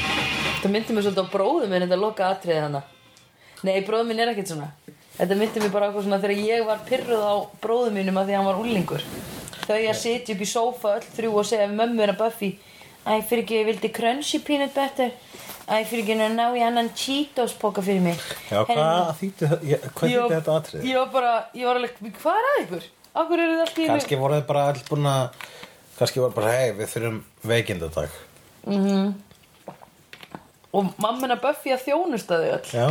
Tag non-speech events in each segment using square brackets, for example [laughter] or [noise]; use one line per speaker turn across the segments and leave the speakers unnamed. Þetta myndi mér svolítið á bróðum minn þetta loka atriðið hana Nei, bróðum minn er ekkert svona Þetta myndi mér bara á eitthvað svona þegar ég var pyrruð á bróðum mínum að því að hann var úlingur Þau að sitja upp í sófa öll þrjú og segja við mömmu er að Buffy Æ, fyrir ekki, ég vildi crunchy peanut butter Æ, fyrir ekki, ná ég annan Cheetos poka fyrir mig
Já, hvað þýtti hvað
Ég
þýtti
var-
þetta atrið?
Ég var bara, ég var alveg, hvað er að ykkur? Akkur eru það allir
Kanski voru þið bara alls búin að Kanski voru bara, hei, við þurfum veikindadag
Mhm. Og mamma að Buffy að þjónusta þau öll
Já,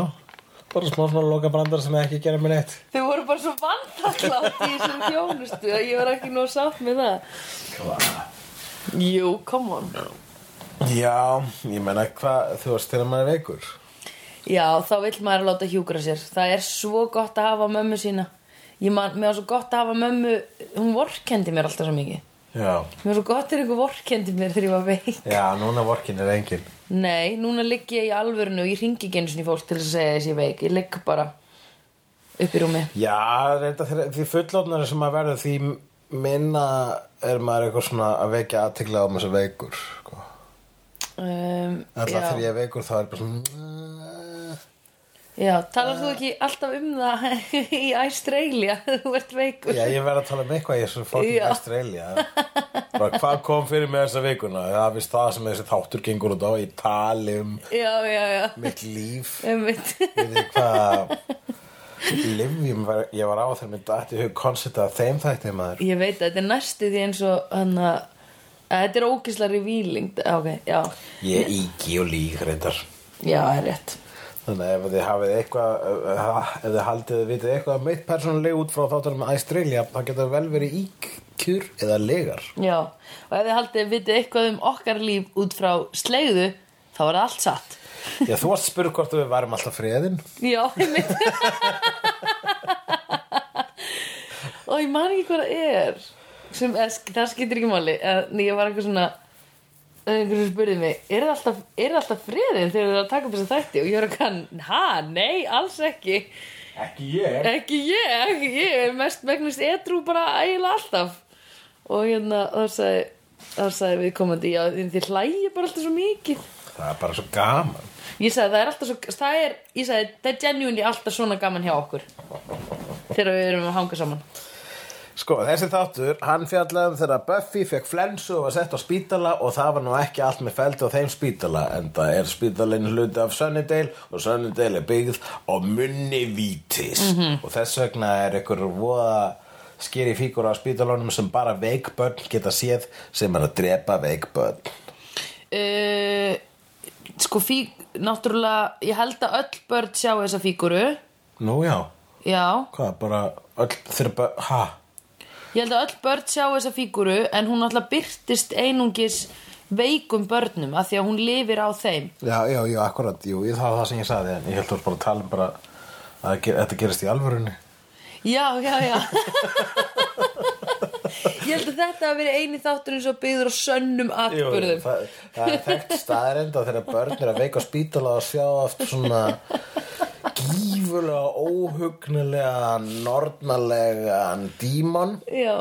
bara smá svona loka brandar sem ekki gera mér neitt
Þau voru bara svo vantaklátt í þessum þjónustu að ég var ekki nú sátt með það Jú, come on
Já, ég meina hvað, þú veist þegar maður er veikur
Já, þá vill maður láta hjúkra sér. Það er svo gott að hafa mömmu sína. Ég man, mér var svo gott að hafa mömmu, hún vorkendi mér alltaf svo mikið.
Já,
Mér var svo gott þegar einhver vorkendi mér þegar ég var veik.
já, núna vorkin er engin
Nei, núna ligg ég í alvörinu og ég ringi ekki einu sinni í fólk til þess að segja þessi veik. Ég ligg bara upp í rúmi.
Já, reynda þegar því fullorðnari sem maður verður því minna er maður eitthvað svona að vekja aðtegla á með þessu veikur sko.
Um,
Alltaf
já.
þegar ég er veikur þá er bara "Mm, svona
Já, talar þú ekki alltaf um það [laughs] í Australia, [laughs] þú ert veikur.
Já, ég verð að tala um eitthvað í þessu fólk í
Já.
Australia bara hvað kom fyrir mig þessa veikuna það er vist það sem þessi þáttur gengur út á ég tali um
Já, já, já.
mitt líf
Einmitt. [laughs]
við því hvað livjum var, ég var á þegar mér dætti hug koncept að þeim þætti maður
Ég veit að þetta er næstu því eins og hann að að þetta er ógislega revíling ok, já,
ég ígi og lík reyndar
já, það er rétt
Þannig að ef þið hafið eitthvað, eh, ha- ef þið haldið þið vitið eitthvað meitt persónuleg út frá þáttunum Australia, þá getur það vel verið íkjur eða legar.
já, og ef þið haldið að vitið eitthvað um okkar líf út frá slegðu þá var það allt satt
Já, þú varst spurð hvort við varum alltaf friðin.
já, einmitt og ég man ekki hvað það er sem, eða, sk- það skiptir ekki máli en ég var eitthvað svona einhverjum spurði mig, er það alltaf, er það alltaf friðin þegar þið eru að taka upp þess þætti og ég var eitthvað, ha, nei, alls ekki
Ekki ég.
ekki ég, ekki ég er mest megnast edru bara eiginlega alltaf og hérna þar sagði þar sagði við komandi, já þið hlægir bara alltaf svo mikið
Það er bara svo gaman.
ég sagði það er alltaf svo, það er ég sagði það er genuinely alltaf svona gaman hjá okkur þegar við erum að hanga saman
Sko, þessi þáttur, hann fjallaði um þegar Buffy fekk flensu og var sett á spítala og það var nú ekki allt með feldi á þeim spítala en það er spítalinn hluti af Sunnydale og Sunnydale er byggð á munni vítis og þess vegna er ykkur voða skeri fígur á spítalunum sem bara veikbörn geta séð sem er að drepa veikbörn
uh, sko fík, náttúrulega ég held að öll börn sjá þessa fíguru
Nú já,
já,
hvað, bara öll þurfa, ha?
Ég held að öll börn sjá þessa fíguru en hún alltaf byrtist einungis veikum börnum af því að hún lifir á þeim.
Já, já, já, akkurat, jú, ég- það var það sem ég sagði en ég held að bara að tala um bara að ge- þetta gerist í alvörunni
Já, já, já. Ég held að þetta að vera eini þátturinn svo byggður á sönnum
Jú,
atbyrðum.
það, það er þekkt staðarind að þegar börn er að veika á spítala og sjá oft svona gífulega óhugnilega nornalegan dímon
Já,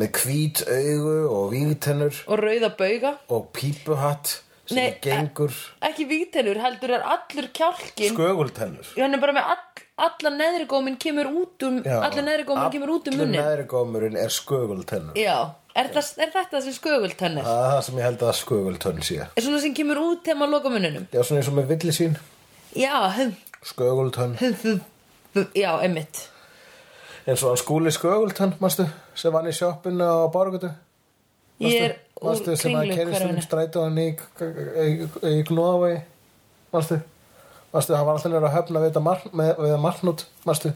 með hvít augu og vígtennur
og rauða bauga.
og pípuhatt sem
Nei, eh,
gengur
Ekki vígtennur, heldur er allur kjálkin.
skögultennur
Já, hann er bara með all, allan neðri góminn kemur út um, allan neðri góminn kemur út um munnin.
Allir neðri gómurinn er skögultennur
Já, er, það, er þetta sem skögultenn er?
Það er það sem ég held að skögultönn sé
Er svona sem kemur út þegar maður loka munninum?
Já, svona eins og með villisvín
Já, hum,
Skögultönn
já, einmitt.
eins og hann skúli skögultönn, manstu sem vann í sjoppinu á Borgutu
Ég er
Manstu
úr
sem að
kringlu
kerist um
hverfinu
strætóðan í, í, í, í Gnóðavegi Manstu Manstu, hann var alltaf nýra að höfna við þetta mar- með- við það marknút Manstu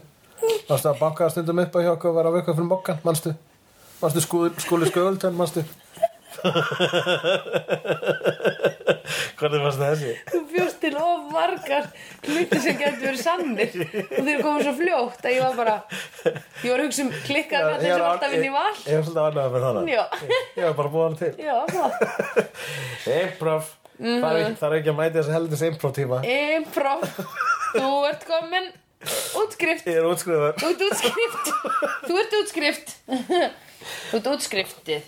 Manstu að bankaða stundum upp á hjá okkur og var að vöka fyrir mokkan Manstu Manstu skúli, skúli sköldtönn, manstu [laughs] Hvernig varstu þessi?
Þú bjóst til of margar hluti sem getur verið sannir og þeir komið svo fljótt að ég var bara ég var að hugsa um klikkað þetta sem alltaf inn í val
Ég var svolítið ánægðið með þannig
Já.
Ég var bara búin til
Já, það
Improv
Mhm.
Það er ekki- það er ekki að mæta þessi heldis improv tíma
Improv Þú ert komin útskrift
Ég er útskriðar
Þú ert útskrift Þú ert útskrift Þú ert útskriftir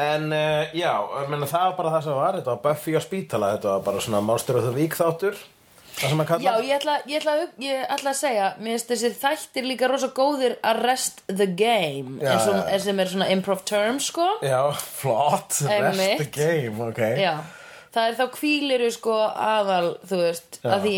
En uh, já, ég meina, það var bara það sem var Þetta var Buffy á spítala Þetta var bara svona Monster of the Week þáttur Það sem að kalla
Já, ég ætla, ég, ætla, að hug- ég ætla að segja Mér finnst þessi þættir líka rosa góðir Að rest the game
Já,
eins og,
já, já.
er sem er svona improv term sko
Já, flott,
Einmitt.
rest the game, ok
Já, það er þá kvíliru sko aðal, þú veist
Já.
að því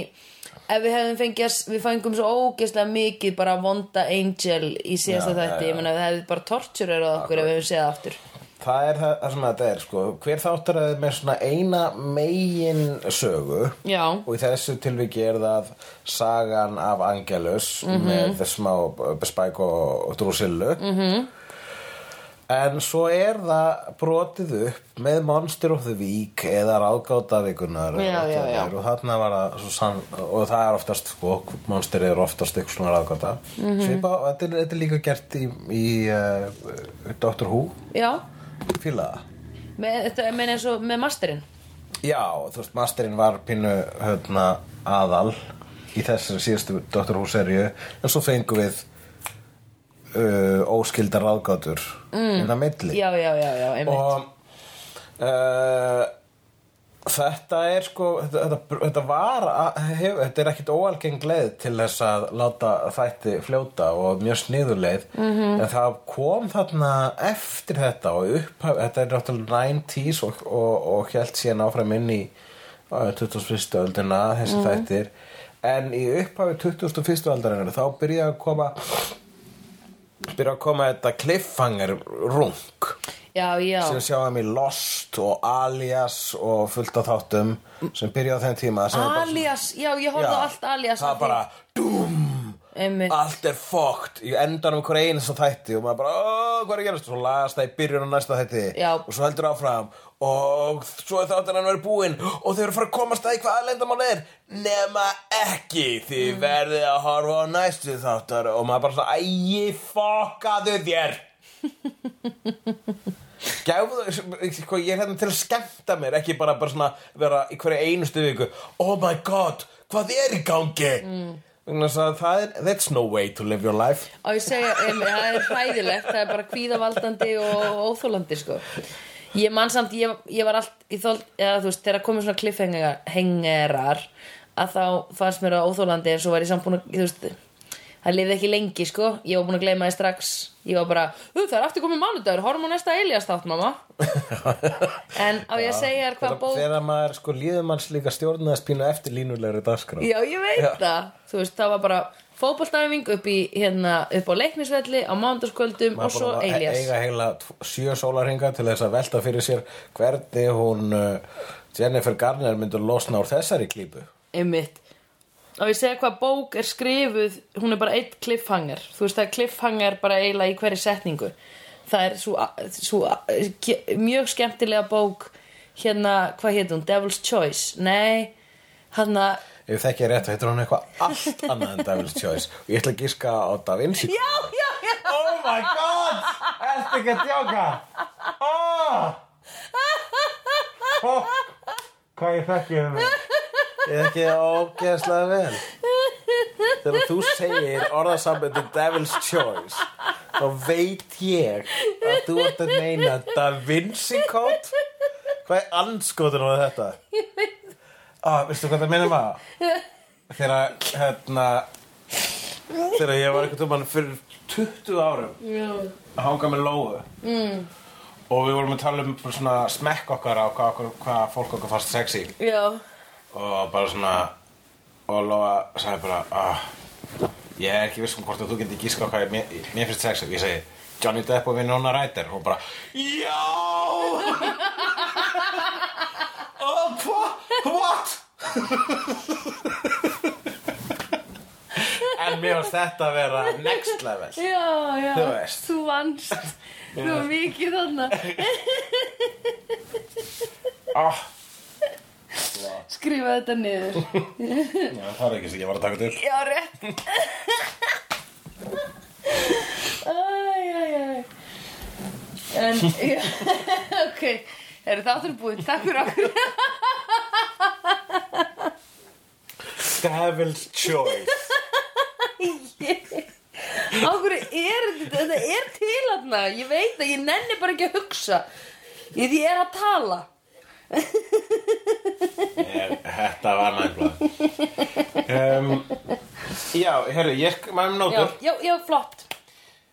ef við hefðum fengið að s- við fengum svo ógeðslega mikið bara vonda angel í síðasta
Já, já,
þætti
já.
ég meina það hefði bara torturerað okkur ef við hefum séð það aftur
Það er það, það sem þetta er, sko Hver þáttur er með svona eina megin sögu
Já,
Og í þessu tilviki er það sagan af Angelus
Mhm.
með þess smá uh, Spike og, og Drusillu -hmm.
Mhm.
En svo er það brotið upp með Monster of the Week eða ráðgátavikunar
Já, já, já.
og þarna var það svo sann og það er oftast, sko, Monster er oftast eitthvað svona ráðgáta
Mhm.
mm -hmm. Svipa, og þetta er, þetta er líka gert í, í uh, Doctor Who
já
fílaða
með, Þetta er meina eins og með masterinn
Já, þú veist, masterinn var pínu höfna aðal í þessari síðustu Dr. Who serju en svo fengum við uh, óskildar ráðgátur mm. innan milli
Já, já, já, já, einmitt
og uh, þetta er sko þetta, þetta, þetta var að- hef, þetta er ekkit óalgeng leið til þess að láta þætti fljóta og mjög sniðuleið -hmm. en það kom þarna eftir þetta og upphaf, þetta er náttúrulega 90s og, og, og held síðan áfram inn í uh, 21. öldina þessi þættir en í upphafi 21. aldarinnar þá byrja að koma byrja að koma þetta cliffhanger rung
Já, já,
sem sjáum í Lost og Alias og fullt af þáttum sem byrja á þeim tíma sem er bara svona-
Alias, já, ég horfði á
Já,
allt Alias
það
af
er
því.
bara dúm,
Einmitt.
allt er fókt í endanum hver einu sem þætti og maður bara, "Ó, hvað er að gerast og svo lagast það í byrjun og næsta þætti
Já.
og svo heldur áfram og svo er þáttan hann verið búinn og þau eru að fara að komast að því hvað aðlendamál er nema ekki því verðið að horfa á næstu þáttar og maður bara svona, ægi fokkaðu þér Gæfðu, sko, ég er hérna til að skemmta mér ekki bara, bara svona vera í hverju einustu viku oh my god, hvað er í gangi mm. að það er that's no way to live your life
Og ég segja, em, það er hræðilegt, það er bara kvíðavaldandi og óþólandi, sko. Ég man samt, ég, ég var allt, ég þóld, eða þú veist, þegar komið svona kliffhengerar, að þá fannst mér það óþólandi en svo var ég samt búin að, þú veist, það lifði ekki lengi, sko. Ég var búin að gleyma þið strax. Ég var bara, þú, það er aftur komið mánudagur, horfum á næsta Elias þátt, mamma. en á ég að segja þér hvað
Þegar-
bók...
þegar maður sko líður manns líka stjórnaðast pínu eftir línulegri dagskrá
Já, ég veit
Já.
það Þú veist, það var bara fótboltæfing upp, í, hérna, upp á leiknisvelli á mándarskvöldum og
Maður
svo
bara var að
Elias
eiga heila tvo- sjö sólarhinga til þess að velta fyrir sér hvernig hún uh, Jennifer Garner myndur losna úr þessari klípu
Einmitt Og ég segja hvað bók er skrifuð Hún er bara eitt cliffhanger Þú veist, það er cliffhanger bara eiginlega í hverju setningu Það er svo, svo ke- mjög skemmtilega bók Hérna, hvað hétt hún? Devil's Choice Nei, hann að
ef þekki ég rétt, heitir hún eitthvað allt annað en Devil's Choice og ég ætla að gíska á Da Vinci
Já, já, já
Oh my god! Ertu ekki að djóka? Oh! Fokk! Oh! Hvað ég þekki þér vel? Ég þekki þér ógeðslega vel. Þegar þú segir orðasambandi Devil's Choice, þá veit ég að þú ert að meina Da Vinci Code? Hvað er anskotur á þetta? Ég veit. Ah, veistu hvað það meina maður? Þegar, hérna, þegar ég var eitthvað tóman fyrir 20 árum að hanga með lóðu mm. og við vorum að tala um bara svona smekk okkar á hvað, okkur, hvað fólk okkar fannst sexy
Já,
og bara svona og Lóa sagði bara ah, ég er ekki viss um hvort að þú getur gíska hvað ég, mér, mér finnst sexy og ég segi Johnny Depp og Winona Ryder og hún bara [laughs] já oh, hva, what [laughs] en mér finnst þetta að vera next level
já, já
Þú veist.
Þú vannst Þú var mikið þarna
ah,
Skrifa þetta niður
Já, það er ekki sem ég var að taka til
Já, rétt Æj, æj, æj En, já, [laughs] ok Er það áttur búið, takk fyrir okkur
Devil's Choice
Okkur er þetta, þetta er til þarna Ég veit að ég nenni bara ekki að hugsa Í því er að tala
Ég- Þetta var næmlega um, Já, herru, ég maður með
Já,
nótur
já, já, flott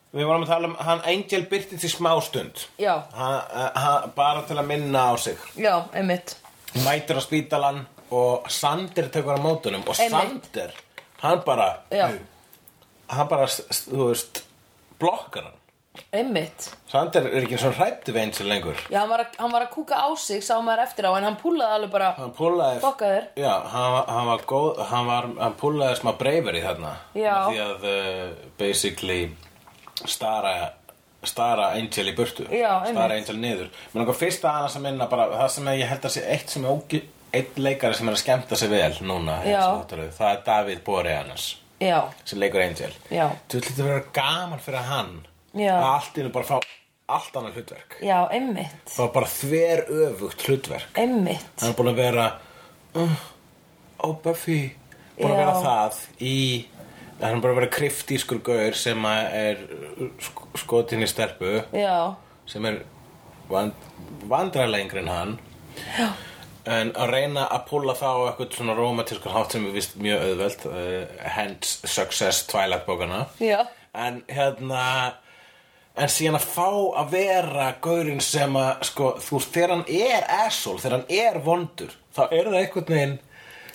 Við vorum að tala um, hann Angel byrti til smástund
Já,
hann, eh, hann, Bara til að minna á sig
já, einmitt
Mætir á spítalan og Sander tekur á mótunum Og
Einmitt.
Sander, hann bara
Já,
Hann bara, s- s- þú veist, blokkar hann
einmitt
Sander er ekki svo hrættu við eins og lengur
Já, hann var, að, hann var að kúka á sig, sá maður eftir á En hann púlaði alveg bara
Hann púlaði
Fokkaður
Já, hann, var- hann var góð Hann, var, hann púlaði smá breyfur í þarna
Já.
Með Því að uh, basically stara stara Angel í burtu
Já, einmitt.
stara Angel niður menn okkur fyrst að hana sem minna bara það sem ég held að sé eitt sem er ógi eitt leikari sem er að skemmta sig vel núna
Já.
eins og þáttaröð, það er David Boreanaz
Já,
sem leikur Angel
Já.
þú ætlum að vera gaman fyrir hann
Já.
að allt innu bara fá allt annað hlutverk
já, einmitt
það var bara þver öfugt hlutverk
Einmitt
hann er búin að vera uh, ó Buffy búin að
Já.
vera það í hann er búin að vera kriftískur gaur sem að er uh, sk skotin í stelpu
Já,
sem er vand vandralengri en hann
Já.
en að reyna að púla þá á eitthvað svona romantískur hátt sem er vist mjög auðvelt uh, hence success Twilight bókana
já,
en hérna en síðan að fá að vera gaurinn sem að sko, þú veist, þegar hann er asshole, þegar hann er vondur þá er það einhvern veginn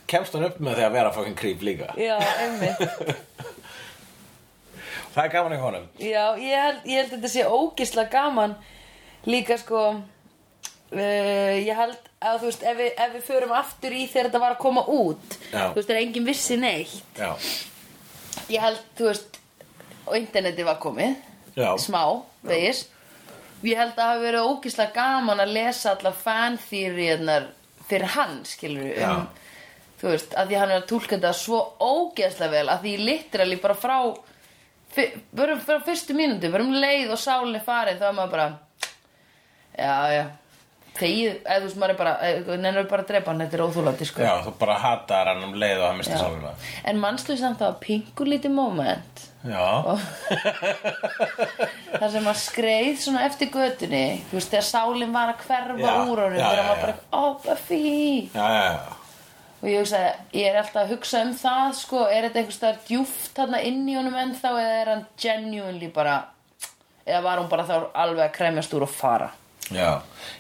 kemst hann upp með því að vera fucking creep líka
já, einmitt
það er gaman í honum
Já, ég held, ég held þetta sé ógisla gaman líka sko uh, ég held að þú veist ef við, ef við förum aftur í þegar þetta var að koma út
Já.
þú veist þegar enginn vissi neitt
já,
ég held þú veist og interneti var komið
já,
smá vegis ég held að það hafi verið ógisla gaman að lesa alla fanþýriðnar fyrir hann skilur við um, þú veist, að því hann er að tólka þetta svo ógeðslega vel að því literally bara frá fyr- bara frá fyrstu mínútu, bara um leið og sálinn er farin þá er maður bara já, já þegið, eða þú veist, maður er bara nennur bara að drepa hann, þetta er óþúlandi sko
já, þú bara hatar hann um leið og hann misti sálina
en mannstu samt að pingu lítið moment
já,
þar sem maður skreið svona eftir götunni þú veist, þegar sálinn var að hverfa
Já,
úr honum
já,
þegar
já,
maður bara,
já.
ó, Buffy
já, já, já
og ég hugsaði, ég er alltaf að hugsa um það sko, er þetta einhvers staðar djúft þarna inn í honum ennþá eða er hann genuinely bara eða var hún bara þá alveg að kremjast úr og fara
já,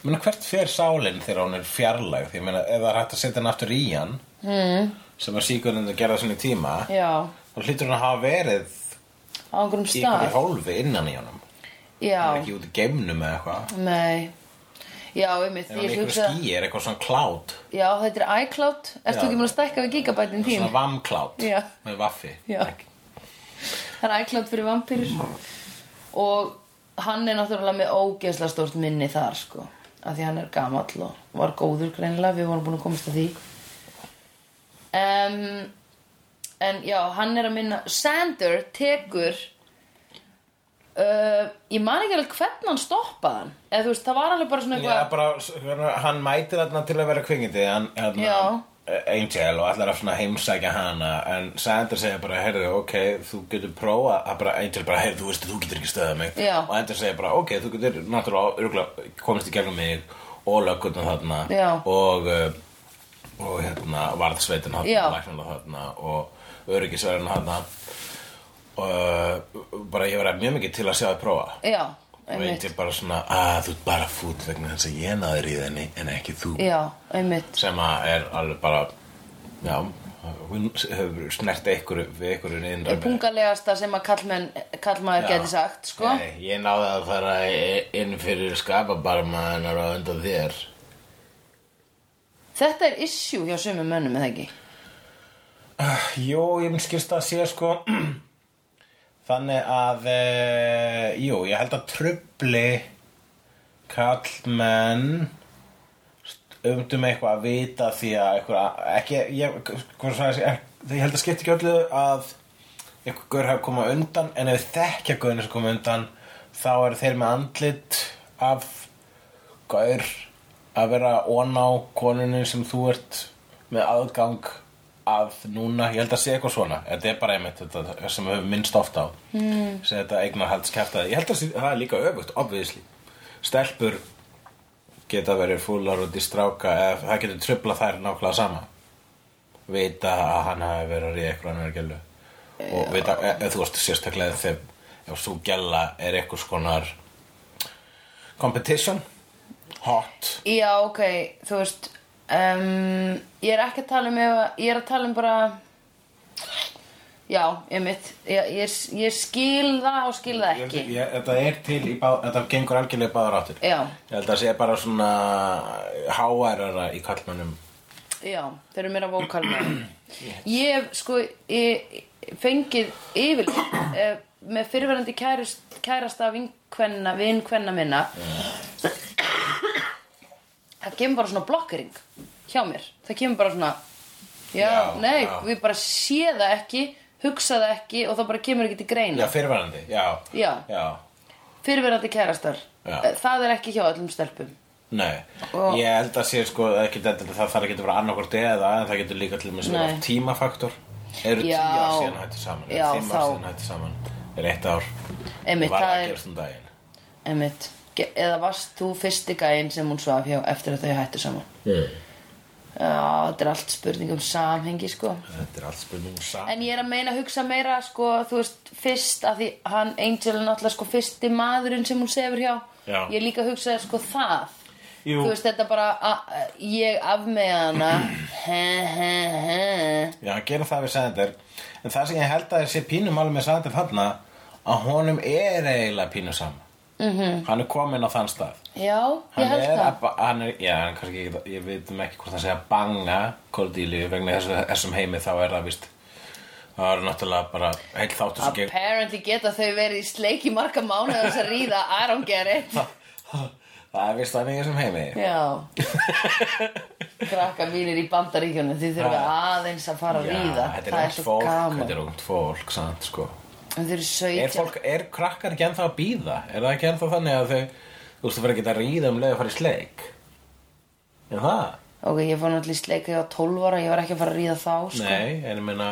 ég meina hvert fer sálinn þegar hún er fjarlæg því ég meina, ef það er hægt að setja hann aftur í hann mm. sem að síkurinn gerða svona í tíma
já,
þá hlýtur hann að hafa verið
á einhverjum
í einhverju
stað
hólfi innan í honum Hann er
já,
ekki út í geimnum eða eitthvað
nei já, einmitt,
er hann í
ég
einhverju
hugsa
skýi, er eitthvað svona cloud
já, þetta er iCloud, erst
Já.
þú ekki mér að stækka við gigabætin þín?
svona vamcloud
Já.
með vaffi
Já. Það er æklátt fyrir vampýrur og hann er náttúrulega með ógeðslega stort minni þar sko af því hann er gamall og var góður greinilega við vorum búin að komast að því um, en já, hann er að minna Sander tekur uh, ég man ekki alveg hvernig hann stoppaði hann eða þú veist, það var alveg bara svona
Já,
eitthvað
bara, svona, hann mætir þarna til að vera kvingindi hann, hann,
Já.
Angel og allar að svona heimsækja hana en Sander segir bara, heyrðu, ok þú getur prófa að bara, Angel bara, heyrðu, þú veist þú getur ekki stöðað mig
Já.
og Angel segir bara, ok, þú getur náttúrulega örugglega komist í gegnum mig og löggunum þarna
Já.
og uh, og hérna varðsveitin
Já.
þarna, læknarna þarna og öryggisverðin þarna og uh, bara ég verið mjög mikið til að sjá það prófa
já,
og
einmitt,
eitthvað bara svona að þú ert bara fúll vegna þess að ég náður í þenni en ekki þú
já, einmitt
sem að er alveg bara já, hún hefur snert ykkur við ykkur innra
er pungalegasta sem að kallmenn kallmaður
Já.
geti sagt sko
Nei, ég náði að fara i- inn fyrir skapabarma hennar á undan þér
þetta er issue hjá sumum mönnum eða ekki
Jó, ég minn skilst að sé sko [clears throat] Þannig að e, Jú, ég held að trubli Kallmenn Umdum um eitthvað að vita Því að eitthvað ekki, ég, hvað svo að segja, ég held að skipta ekki öllu Að eitthvað gaur hafa komað undan En ef þekkja gaurinn sem koma undan Þá eru þeir með andlit Af gaur Að vera oná konunni sem þú ert Með aðgang að núna, ég held að sé eitthvað svona þetta er bara einmitt þetta sem við höfum minnst ofta á mm. sem þetta eignar haldskæftaði ég held að sé- það er líka öfugt, obviðisli stelpur geta verið fúlar út í stráka eða það getur trubla þær nákvæmlega sama vita að hann hafi verið að ríða eitthvað annar gælu og vita, e, e, þú veist sérstaklega þegar ef svo gæla er eitthvað skonar competition hot
Já, ok, þú veist um, Ég er ekki að tala um ef, að- Ég er að tala um bara Já, ég mitt Ég, ég, ég skil það og skil það
ég,
ekki
ég, þetta er til í bá, þetta gengur algjörlega í báðar áttir
Já.
ég held að það sé bara svona háærara í kallmönnum
Já, þeir eru meira
[clears throat]
vókalmenn Ég hef sko ég, fengið yfir eh, með fyrirverandi kærust, kærasta vinkvenna, vinkvenna minna það kemur bara svona blokkering hjá mér, það kemur bara svona já,
Já,
nei,
já.
við bara sé það ekki hugsa það ekki og það bara kemur ekki til
já,
greina
fyrirverandi, já
Já.
já.
fyrirverandi kærastar
Já.
Eh, það er ekki hjá öllum stelpum
Nei,
Og-
ég held að sé sko ekki, það, það þarf að geta verið annarkvort eða en það getur líka til dæmis verið
Nei.
af tímafaktor eru tíu
Já.
ár síðan hættu saman
Já,
eða fimm ár
þá.
síðan hættu saman er eitt ár
Einmitt,
var
það
að
er-
gerast um daginn
Einmitt. Ge- Eða varst þú fyrsti gæinn sem hún svaf hjá eftir að þau hættu saman?
mm.
Já, þetta er allt spurning um samhengi, sko.
þetta er allt spurning um
En
saman
ég er að meina að hugsa meira, sko, þú veist, fyrst að því hann, Angel, er náttúrulega, sko, fyrsti maðurinn sem hún sefur hjá.
Já.
Ég er líka að hugsa, sko, það.
Jú.
Þú veist, þetta bara, a- a- ég af með hana, he, he, he.
já, að gera það við Sander en það sem ég held að sé pínum alveg með Sander þarna að honum er eiginlega pínum saman
Mhm.
-hmm. hann er kominn á þann stað
Já, ég
Hann
held
er,
það.
að, ba- hann er, já, hann kannski ekki, ég veitum ekki hvort það segja banga Cordelia vegna þessu, þessum heimi þá er það vist það er náttúrulega bara heil þáttur sem gegn
Apparently geta þau verið í sleik í marga mánuð þess að ríða, I don't get it.
[laughs] það er vist þannig í þessum heimi
Já [laughs] Krakka mínir í bandaríkjunum Þið þurfa aðeins að fara að ríða
þetta
Það
er
er
ungt
svo
fólk,
gaman
þetta er ungt fólk sant, sko.
En þau eru
er,
17
fólk, er krakkar ekki ennþá að býða er það ekki ennþá þannig að þau þú veist þú verður ekki að ríða um leið að fara í sleik er það?
Ok, ég fór náttúrulega í sleik þegar ég var 12 ára Ég var ekki að fara að ríða þá sko.
Nei, en ég meina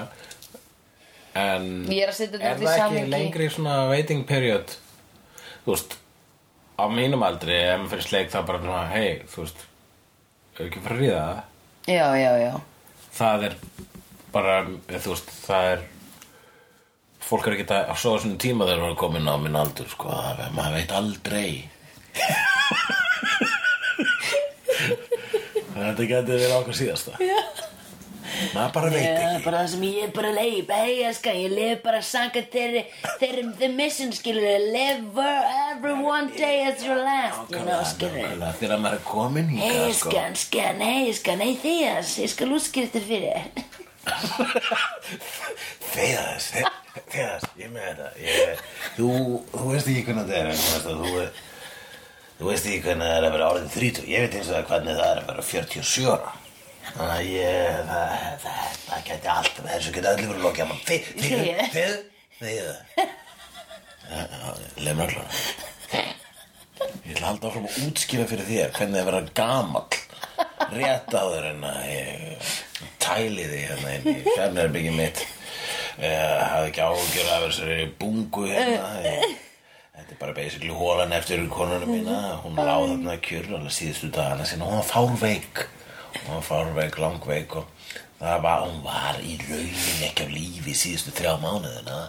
en,
Ég er að setja þetta
er
allt í
það ekki
samhengi.
lengri svona waiting period þú veist á mínum aldri, ef maður fyrir sleik þá bara svona, hei, þú veist er ekki að fara að ríða það
Já, já, já
það er bara, eh, þú veist, það er fólk er ekki að svo svona tíma þegar maður er komin á minn aldur sko, það, maður veit
[laughs]
aldrei þetta getur verið okkar síðasta maður bara veit ekki
Já, Eh, bara það sem ég bara leif Hei, elskan, ég leif bara sanga þeirri Þeirri the mission, skilur ég Live every one day as your last You know, skilur ég
Nákvæmlega, þegar maður er komin
Hei,
hingað sko.
elskan, skan, hei, elskan, hei þíðans Ég skal útskýra þetta fyrir þér. [laughs]
Þegas, þe- þegas, ég með þetta ég, þú, þú veist ekki hvernig þetta er en þú veist að þú þú veist ekki hvernig það er að vera orðin 30 ég veit eins og það hvernig það er að vera 47 ára þannig að ég það, það, það geti allt þessu geti allir verið lokið mann þið, þið,
Þið.
þið, þið leið mér allan ég ætla að halda áfram að útskýra fyrir þér hvernig það er að vera gamall rétt áður en að ég tæli því hérna inn í fjármjörbyggið mitt ég hafði ekki ágjör af þessari bungu hérna ég, þetta er bara basically hólan eftir konunum mína hún láð þarna kjur alveg síðustu dagana sinna hún var fárveik hún var fárveik, langveik og það var, hún var í raunin ekki af lífi síðustu þrjá mánuðina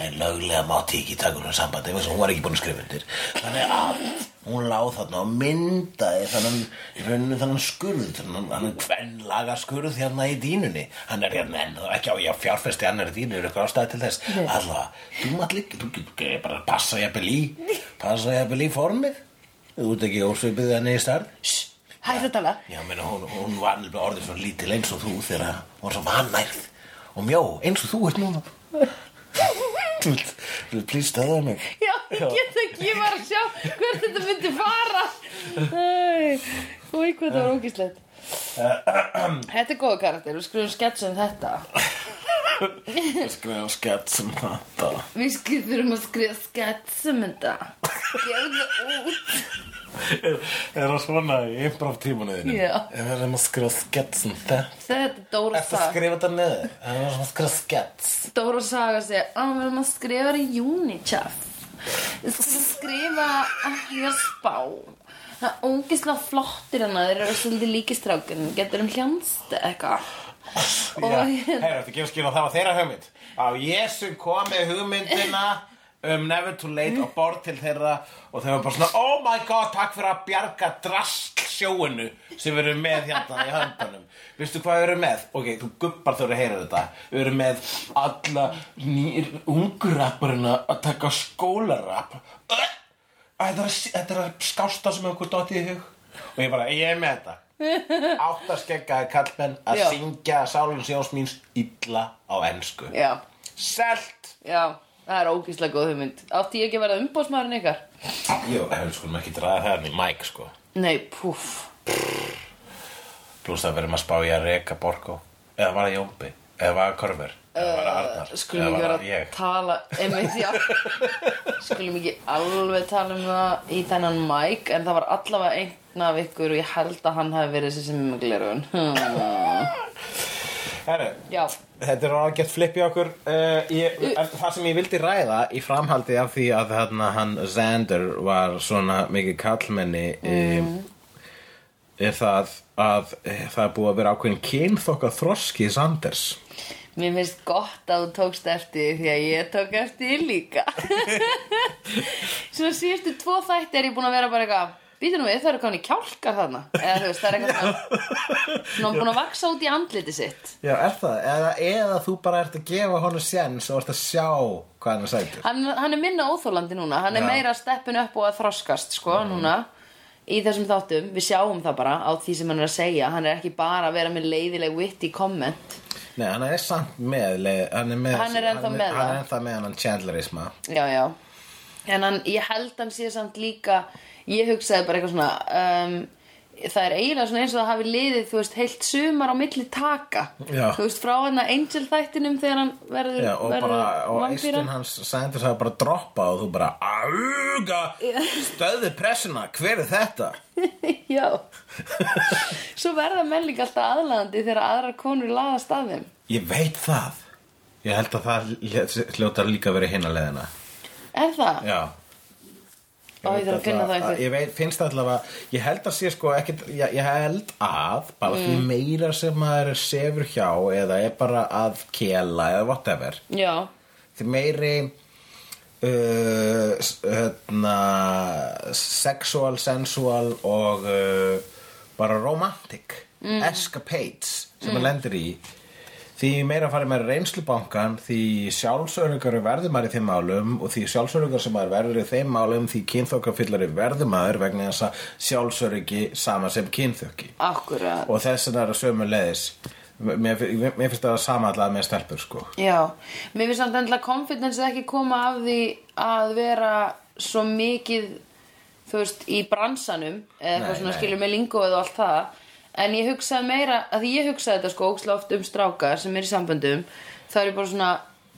en löglega mátti ekki taka hún sambandi vegna þess að hún var ekki búin að skrifa undir þannig að hún láð þarna og myndaði þannig, þannig, þannig skurð þannig, þannig kvenlaga skurð hérna í dýnunni hann er hérna enn og ekki á ég að fjárfesti annar í dýnu er eitthvað ástæði til þess alltaf, þú maður líka, þú getur bara passa ég í passa ég í formið þú ert ekki ósveipið þannig í starf
Shh, hættu að tala
Já, meina, hún, hún var alveg orðið svo lítil eins og þú þegar hún var svo vannærð og mjó, eins og þú ert núna. Þú vilt, þú vilt plýst aðað mig.
Já, ég get ekki, ég var að sjá hvert þetta myndi fara Æ, Og hvað þetta var ógíslegt Þetta er góða karakter, við skrifum skets um þetta
Ég skrifa skett sem þetta.
Við skrifum að skrifa skets um þetta Gefðu það út
Er það svona í improv tímanuðinu?
Já.
Ef við erum að skrifa skett sem þetta.
Þetta er Dóra
Eftir að
Saga
skrifa þetta niður. Ef við erum að skrifa skett.
Dóra Saga segja, að við erum að skrifa í Unichaf Við skulum skrifa í að spá Það er ógislega flottir hann Þeir eru svolítið líkistrákun Getur um hljanst eitthvað Og
Já,
hérna-
heyrðu, þetta gefur skil að það var þeirra hugmynd Á Jésu kom með hugmyndina um never too late á borð til þeirra og þeir var bara svona oh my god, takk fyrir að bjarga drast sjóinu sem við erum með hérna í höndunum veistu hvað við erum með? ok, þú gubbar þurfa að heyra þetta við erum með alla nýr ungurrapparina að taka skólarapp Ugh! þetta er, þetta er að skásta sem okkur dotti í hug og ég bara, ég er með þetta áttarskeggaði kallmenn að
Já.
syngja sálinn sjós míns illa á ennsku
Já,
Selt
já Það er ógislega góð hugmynd Átti ég ekki að verða umbóðsmaðurinn ykkar?
Jú, hefur skulum ekki draga það í mæk sko
Nei, púff
pluss það verðum að spá ég að reka Borgo eða var það Jómbi, eða var það Korver eða var það Arnar,
Eh, Skulum
eða
ekki
var
vera
það
að
ég
tala einmitt, já. Skulum ekki alveg tala um það í þennan mæk En það var allavega einn af ykkur Og ég held að hann hafi verið þessi sem er með glerun
Herru,
Já,
Þetta er ágætt flip í okkur uh, ég, en Það sem ég vildi ræða í framhaldi af því að hann, hann Xander var svona mikið kallmenni mm. er það að eh, það er búið að vera ákveðin kynþokka þroski Xanders
mér finnst gott að þú tókst eftir því, Því að ég tók eftir því líka Svona síðustu tvo þætti er ég búin að vera bara eitthvað Býtu nú við, það eru komin í kjálkar þarna Eða þú veist, það er eitthvað svona Svona búin að vaksa út í andliti sitt
Já, er það? Eða, eða þú bara ert að gefa honum séns og ert að sjá hvað hann er sætur
hann, hann er minna óþólandi núna hann er
Já.
meira steppin upp og að þroskast sko, núna, í þessum þáttum við sjáum það bara á því sem hann er að segja hann er ekki bara að vera með leiðileg witty comment
Nei, hann er samt með, le- hann er með
Hann er ennþá með
Hann
það.
er ennþá með hann Chandlerisma
já, já en hann, ég held hann sé samt líka ég hugsaði bara eitthvað svona um, það er eiginlega svona eins og það hafi liðið þú veist, heilt sumar á milli taka
Já.
þú veist, frá hann að Angel þættinum þegar hann verður,
Já, og
verður
bara, og
vampíra.
eistun hans Sanders hafa bara droppað og þú bara auga, stöðu pressuna hver er þetta?
[laughs] Já Svo verða menn líka alltaf aðlaðandi þegar aðrar konur laðast að þeim
Ég veit það Ég held að það hl- hljótar líka verið hinna leðina
Er það?
Já
Ó, ég þarf að finna það einhvern
Ég veit, finnst það allavega, ég held að sé sko ekkit, ég, ég held að bara
Mm.
því meira sem maður sefur hjá eða er bara að kela eða whatever
Já,
því meiri uh, s- hérna, sexual, sensual og uh, bara romantic escapades sem maður lendir í því meira farið maður í reynslubankan því sjálfsörungar verður maður í þeim málum og því sjálfsörungar sem maður verður í þeim málum því kynþokkafyllari verður maður vegna þess að sjálfsörungi sama sem kynþokki
akkurat
og þess vegna er að sömu leiðis mér, fi- mér mér finnst það að sama allavega með stelpur sko
Já, mér finnst samt endilega confidence ekki koma af því að vera svo mikið þú veist, í bransanum eða
Nei,
eitthvað svona
nei.
skilur með lingóið og allt það en ég hugsaði meira, að því ég hugsaði þetta sko ókslega oft um stráka sem er í samböndum þá er ég bara svona,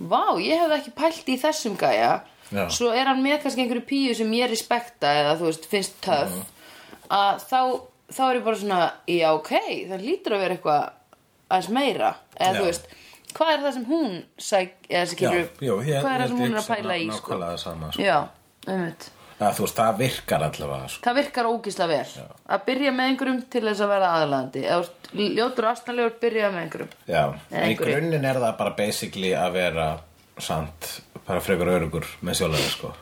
vá, ég hefði ekki pælt í þessum gæja
Já.
svo er hann með kannski einhverju píu sem ég respekta eða þú veist, finnst töff
Mhm.
að þá, þá er ég bara svona já, ok, það lítur að vera eitthvað aðeins meira, eða
Já.
þú veist hvað er það sem hún sæk, eða sem
Já,
getur,
jú, ég,
hvað er það
ég
sem hún er að
hugsa
pæla í
ná-
sko?
nákvæmlega sama, sko.
já, umvitt
að, þú veist, það virkar allavega sko.
það virkar ógísla vel að byrja með einhverjum til þess að vera aðlandi eða þú ert ljótur og astanlegur byrja með einhverjum
Já, en í
einhverju.
grunninn er það bara basically að vera samt, bara frekar örugur með sjálflega sko.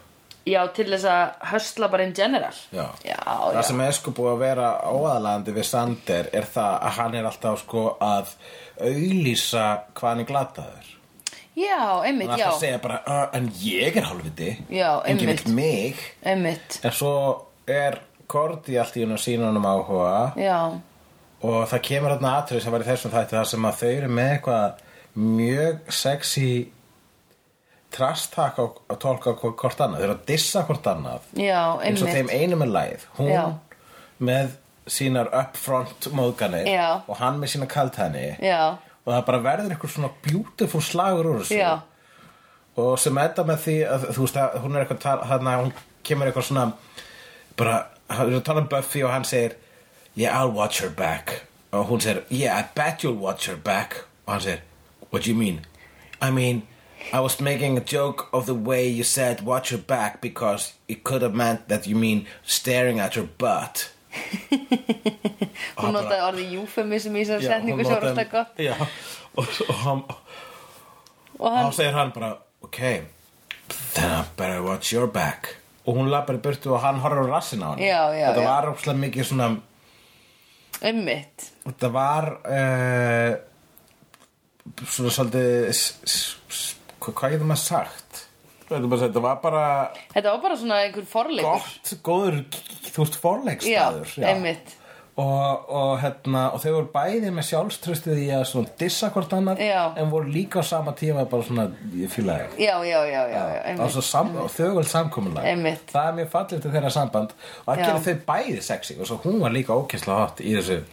já, til þess að hösla bara in general
Já.
já,
það
já.
sem er sko búið að vera óaðalandi við Sander er það að hann er alltaf sko að auglýsa hvað hann er glataður
já
hann
einmitt,
er alltaf að
já,
segja bara, "Uh, en ég er hálfviti
Já,
enginn
einmitt.
vill mig
einmitt
en svo er Korti allt í hún að sína honum áhuga
já,
og það kemur þarna atrið sem var í þessum þætti þar sem að þau eru með eitthvað mjög sexy trastak á að tólka hvort annað, þau eru að dissa hvort annað
já,
eins og þeim
einmitt
einum er læð hún
Já.
með sínar upfront móðganir
Já.
og hann með sína kaltæni
já,
og það bara verður eitthvað svona beautiful slagur úr þessu
já,
og sem enda með því að þú veist að hún er eitthvað tal- þarna hún kemur eitthvað svona bara, hann er að tala um Buffy og hann segir yeah I'll watch her back og hún segir yeah I bet you'll watch her back og hann segir what do you mean I mean I was making a joke of the way you said watch your back because it could have meant that you mean staring at your butt.
Hún notaði orðið eufemism í þessari setningu sem var
notaði-
alltaf gott
Já, og, og hann,
og
hann
hann,
segir hann bara, ok, then I better watch your back. Og hún lappar í burtu og hann horfir á rassin á hann.
Já, já,
Þetta
já.
var ókslega mikið svona,
einmitt
þetta var, uh, svona svolítið, s- s- s- hvað, hvað getur maður sagt? Þetta var bara, þetta var bara
Þetta var bara svona einhver forleikur
gott, góður, þú veist, forleikstaður.
Já, einmitt
og, og, hérna, og þau voru bæði með sjálfströstið í að svona dissa hvort annað
Já.
en voru líka á sama tíma bara svona ég fíla þig
Já, já, já, já, já
Það var
einmitt
svo sam, þögul samkomulag
Einmitt.
það er mjög fallið til þeirra samband og það
Já.
gerir þau bæði sexy og svo hún var líka ókesslega hot í þessu,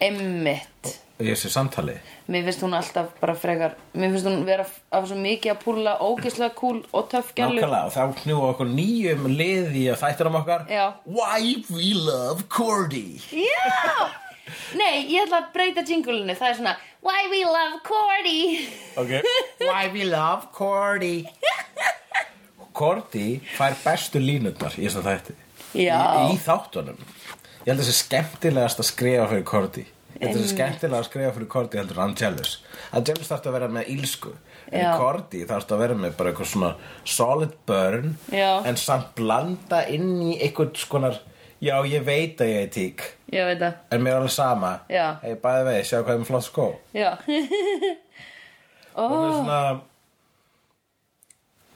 Einmitt
í þessu samtali
Mér finnst hún alltaf bara frekar Mér finnst hún vera af svo mikið að púla ógeðslega kúl og töff gælu
nákvæmlega og þá knjúa okkur nýjum liði að þættunum okkar
Já.
Why we love Cordy
Já! Nei, ég ætla að breyta jingulinu Það er svona Why we love Cordy
okay. Why we love Cordy Cordy fær bestu línundar í þessum þætti
Já.
í, í þáttunum Ég held að þessi skemmtilegast að skrifa fyrir Cordy Ég held að þessi skemmtilegast að skrifa fyrir Cordy heldur en Angelus Angelus þarfst að vera með ílsku En
Já.
Cordy þarfst að vera með bara eitthvað svona solid burn
Já.
En samt blanda inn í eitthvað skonar Já, ég veit að ég er tík
Ég veit það
En mér er alveg sama
Já.
Hey, bæði vei, sjá hvað ég er með flott skó
Já,
hún er svona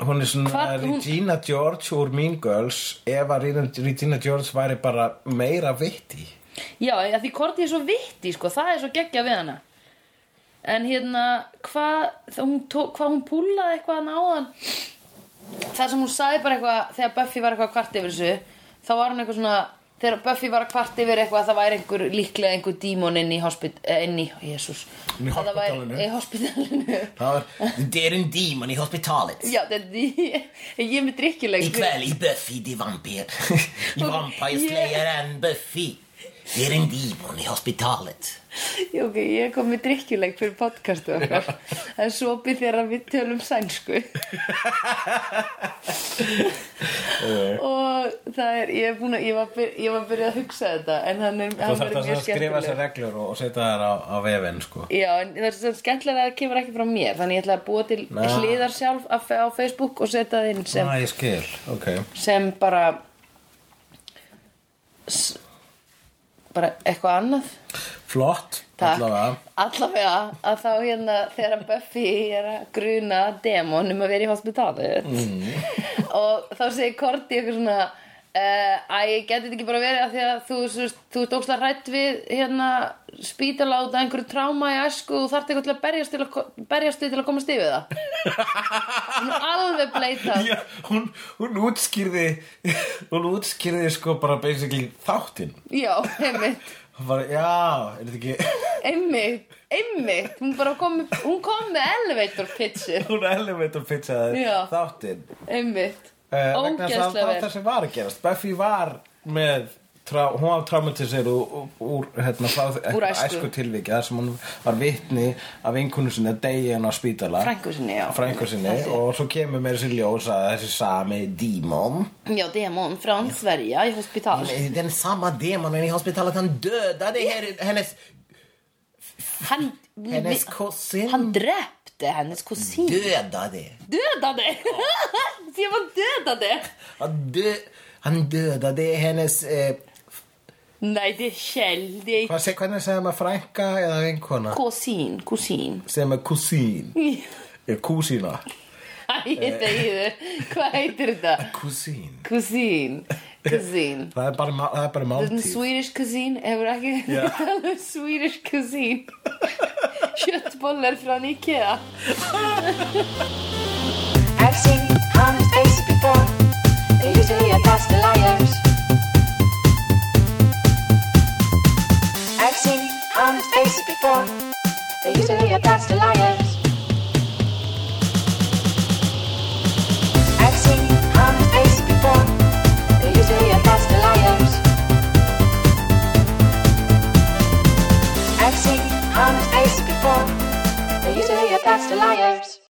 hún er svona
Hvað- hún-
Regina George úr Mean Girls ef að Regina- Regina George væri bara meira vitti
já að því Korti er svo vitti sko, það er svo geggja við hana En hérna, hvað þá hún, tó- hvað hún púlaði eitthvað að náðan Það sem hún sagði bara eitthvað þegar Buffy var eitthvað kvart yfir þessu þá var hún eitthvað svona þegar Buffy var kvart yfir eitthvað að það væri einhver líklega einhver dímon inn í hospit eh, inn í, jésús
Inn í hospitalinu.
Í hospitalinu [laughs]
það var þetta er en díman í hospitalet
Já, þetta ég er [laughs] með drikkjuleg
í Buffy the Vampire í
Vampire Slayer
en Buffy þetta er en díman í hospitalet
Já, ok, ég kom með drikkjuleik fyrir podcastu okkar en svo byrð þér að við tölum
[laughs]
sænsku og það er ég, er búin að, ég, var byrj, ég var byrjað að hugsa þetta en hann er,
þú
hann
þarf
verður
það
mjög
að skrifa þessar
skemmtileg
reglur og, og setja þær á, á vefinn sko
Já, en það er svo skemmtilega að það kemur ekki frá mér þannig ég ætla að búa til
Nei.
hliðar sjálf á fe- á Facebook og setja það inn sem,
ah, ég skil, ok
sem bara s, bara eitthvað annað
flott,
Takk.
allavega
Allavega að þá hérna þegar að Buffy er að gruna demon um að vera í hospitalet
Mhm.
[laughs] og þá segir Korti eitthvað svona eh, Æ, uh, geti þetta ekki bara verið að því að þú, þú, þú ert ókslega hrætt við hérna spítala út af einhverju tráma í æsku og þarft eitthvað til að berjast, til að, ko- berjast við til að komast
[laughs]
yfir það Hún er alveg bleitað
Já, hún, hún útskýrði [laughs] hún útskýrði sko bara basically þáttinn
Já, einmitt,
hún bara, já, er þetta ekki [laughs]
einmitt, einmitt Hún bara kom, með- hún kom með elevator pitchið
hún elevator pitchaði
Já.
þáttinn
Einmitt,
Eh, vegna þess að
ógeðslega
það
vel
það sem var að gerast Buffy var með trá, hún var traumatisir úr, úr, hérna, frá,
Úr æsku.
æsku tilviki þar sem hún var vitni af vinkunu sinni að deyja hann á spítala
Frænku sinni, já.
frænku sinni og svo kemur mér þessi ljós að þessi sami dímon
Já, demon från Sverige i hospital.
den samma demonen i hospitalet han dödade her, hennes
Han,
Hennes kusin
han dräpte hennes kusin.
dödade.
[laughs] Dödade! Ser man dödade?
Han, dö, han dödade hennes... Eh,
Nej, det är Kjell. Det är
hvað seg, hvernig segir maður frænka eða vinkona?
kusin, kusin. [laughs]
Segir maður kusín. Eða kúsína.
Nej,
Eh.
det är Vad heter det?
Kusín.
Kusin. Kusin.
Það er bara, má- það er bara
En
[laughs] máltíð.
Swedish kusin, hefur ekki
Ja.
yeah. Swedish kusin Köttbollar från Ikea
I've seen honest faces before. They usually are past the liars. I've seen honest faces before. They usually are past the liars. I've seen honest faces before. They usually are past the liars. I've seen honest faces before. They usually are past the liars.